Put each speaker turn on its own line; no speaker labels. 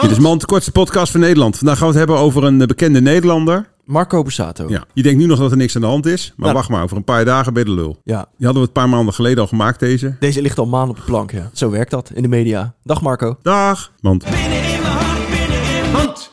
Dit is Mand, de kortste podcast van Nederland. Vandaag gaan we het hebben over een eh, bekende Nederlander.
Marco Borsato.
Ja. Je denkt nu nog dat er niks aan de hand is, maar
Nou.
wacht maar, over een paar dagen ben je de lul.
Ja.
Die hadden we een paar maanden geleden al gemaakt, deze.
Deze ligt al maanden op de plank. Ja. Zo werkt dat in de media. Dag Marco.
Dag, Mand.
binnen in mijn hart, binnen in mijn hand.